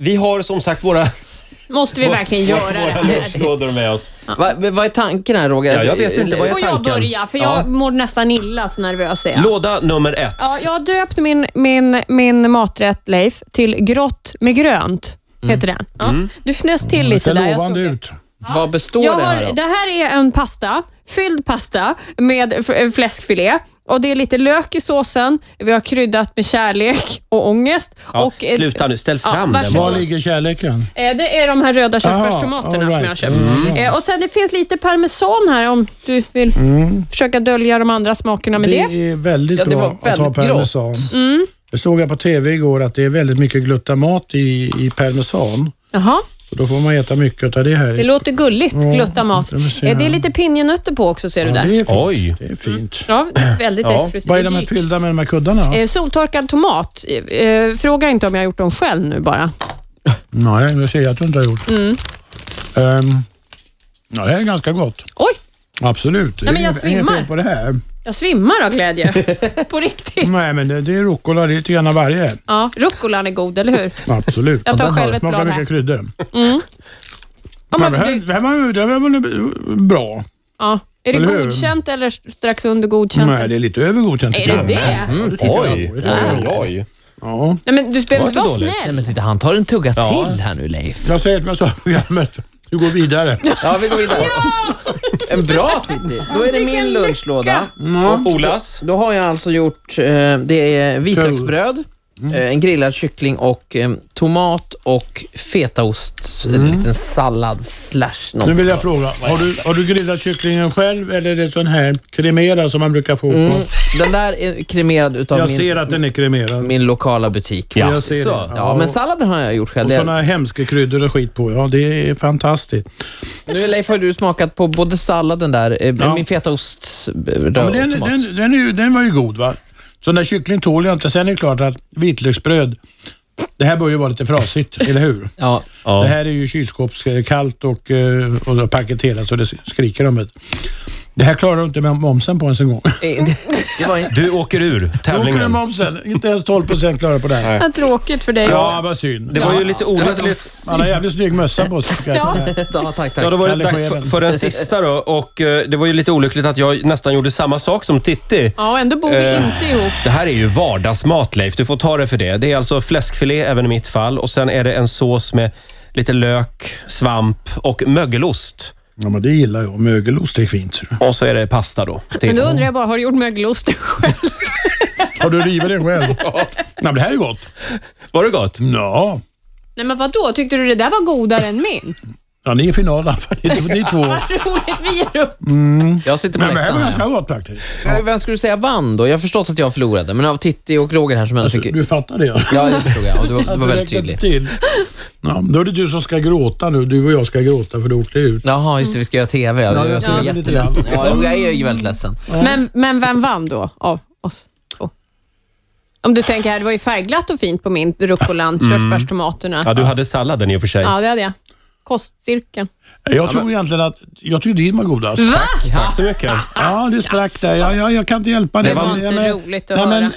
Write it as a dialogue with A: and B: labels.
A: Vi har som sagt våra,
B: Måste vi verkligen göra det
A: våra
B: här?
A: lunchlådor med oss.
C: Va- Vad är tanken här Roger?
A: Ja, jag vet inte, vad är
B: Får jag
A: tanken?
B: börja? För jag
A: Ja.
B: mår nästan illa, så nervös är jag.
A: Låda nummer ett.
D: Ja, jag har döpt min, min, min maträtt, Leif, till grått med grönt. Heter den. Ja. Du fnös till
E: Det
D: lite
E: ser
D: där. jag
E: lovande
D: såg det.
E: ut.
C: Vad består
D: Jag
C: det
D: har,
C: här av?
D: det här är en pasta, fylld pasta med f- fläskfilé. Och Det är lite lök i såsen. Vi har kryddat med kärlek och ångest.
A: Ja,
D: och, eh,
A: sluta nu, ställ fram den
D: varsågod.
E: Var
A: bara.
E: ligger kärleken? Mm.
D: Eh, Det är de här röda körsbärstomaterna
E: Aha, all
D: som jag har
E: right.
D: köpt. Eh, Och sen det finns lite parmesan här om du vill försöka dölja de andra smakerna med det.
E: Det är väldigt
C: Ja, det
E: bra
C: var
E: att ha
C: väldigt
E: parmesan.
D: Mm.
E: Det såg jag på TV igår att det är väldigt mycket glutamat i, i parmesan.
D: Jaha,
E: Så då får man äta mycket av det här.
D: det låter gulligt.
E: Mm.
D: Glutamat.
E: det vill säga.
D: Eh, Det är lite pinjenötter på också ser du
E: Ja, det
D: där. Mm.
E: är fint.
A: Oj.
E: Det är fint.
D: Ja, väldigt
A: Ja.
D: exklusivt.
E: Vad är de här
D: Dyrt.
E: fyllda med, de här kuddarna?
D: Eh, Soltorkad tomat. Eh, eh, Fråga inte om jag har gjort dem själv nu bara.
E: Nej, det ser jag att du inte har gjort.
D: Mm.
E: Ehm, ja, det här är ganska gott.
D: Oj,
E: Absolut.
D: Nej, men jag
E: Det är inget fel
D: svimmar.
E: på det här.
D: jag svimmar av glädje. På riktigt.
E: Nej, men det, det är rucola, det är lite grann av varje.
D: Ja, rucolan är god, eller hur?
E: Absolut.
D: Jag tar
E: Ja, den
D: själv
E: har-
D: ett
E: smakar
D: blad här.
E: mycket kryddor.
D: Om
E: Men
D: man,
E: det, här,
D: du,
E: det, här var, det här var väl bra?
D: ja. Är det
E: Eller hur?
D: godkänt eller strax under godkänt?
E: Nej, det Mm. är lite övergodkänt.
D: Är
E: tycker
D: det
E: jag.
D: det?
E: Ja, titta.
A: Oj, oj, oj.
E: Ja.
D: Nej, men du behöver
A: var inte
D: inte vara
A: dåligt.
C: Nej,
D: snäll.
C: men titta, han tar en tugga till här nu Leif.
E: Jag säger som jag sa i programmet, vi går vidare.
C: Ja, vi går vidare. En bra Titti. Då är det min lunchlåda. Mm.
A: Och Olas.
C: Då har jag alltså gjort, eh, det är vitlöksbröd, eh, en grillad kyckling och eh, tomat och fetaost, en liten sallad slash
E: Mm. Nu
C: någonting.
E: vill jag fråga, har du, har du grillat kycklingen själv eller är det sån här kremerad som man brukar få? på?
C: Mm, den där är kremerad utav
E: Jag
C: min,
E: ser att den är kremerad.
C: min lokala butik.
A: Ja.
E: Jag ser
A: Jaså?
E: det.
C: Ja, men salladen har jag gjort själv.
E: och
C: Det-
E: såna hemska kryddor och skit på. Ja, det är fantastiskt.
C: Nu Leif, har du smakat på både salladen där, eh,
E: Ja.
C: min fetaost, eh, röd
E: Ja,
C: och
E: men den,
C: tomat.
E: den, den, är ju, den var ju god va? Sån där kyckling tål jag inte. Sen är det klart att vitlöksbröd, det här bör ju vara lite frasigt, eller hur?
C: Ja.
E: Det här är ju kylskåpskallt och, eh, och så paketerat så det skriker om det. Det här klarar du inte med momsen på ens en gång.
C: Eh, Det var en,
A: Du åker ur
E: Då med
A: tävlingen.
E: momsen. Inte ens 12 procent klarar på det här.
D: Vad tråkigt för dig.
E: Ja, vad synd.
A: Det var ju lite olyckligt.
E: Han har jävligt snygg mössa på sig. tycker jag.
D: Ja.
C: ja, tack, tack.
A: Ja, då var det
E: Kalle
A: dags för,
E: Scheven.
A: för den sista då. Och eh, det var ju lite olyckligt att jag nästan gjorde samma sak som Titti.
D: Ja, och ändå bor vi
A: Eh.
D: inte ihop.
A: Det här är ju vardagsmat, Leif. Du får ta det för det. Det är alltså fläskfilé även i mitt fall och sen är det en sås med lite lök, svamp och mögelost.
E: Ja, men det gillar jag. Mögelost är fint. ser du.
A: Och så är det pasta då. till.
D: Men då undrar jag bara, har du gjort mögelost själv?
E: Har du rivit det själv? Ja. men det här är gott.
A: Var det gott?
E: Ja.
D: Nej, men vadå? Tyckte du det där var godare än min?
E: ja, ni är i finalen för ni, ni två.
D: Vad roligt, vi ger upp.
C: Jag sitter på
E: Men det här var
C: läktaren.
E: ganska gott faktiskt.
C: här. Vem skulle du säga vann då? Jag har förstått att jag förlorade, men av Titti och Roger här som ändå fick...
E: Alltså, Du fattar det? Ja.
C: Ja, det förstod jag. Och du, var- du var
E: Att det
C: väldigt
E: räcker
C: tydlig.
E: Till. Ja, då är det du som ska gråta nu. Du och jag ska gråta för du åkte ut.
C: Jaha, just det. Vi ska göra TV. Jag, jag,
E: ja,
C: jag är
E: lite
C: jätteledsen.
E: grann.
C: Ja, jo, jag är ju väldigt ledsen.
D: Men, men vem vann då av oss två? Om du tänker här, det var ju färgglatt och fint på min rucolan, körsbärstomaterna.
A: Mm. Ja, du hade salladen i och för sig.
D: Ja, det hade jag. Kostcirkeln.
E: Jag tror egentligen att... Jag tyckte din var godast.
D: Va?
A: Tack så mycket.
E: Ja, det sprack där. Ja, ja, jag kan inte hjälpa det.
D: Det var inte
E: men-
D: roligt att
E: nej, men,
D: höra.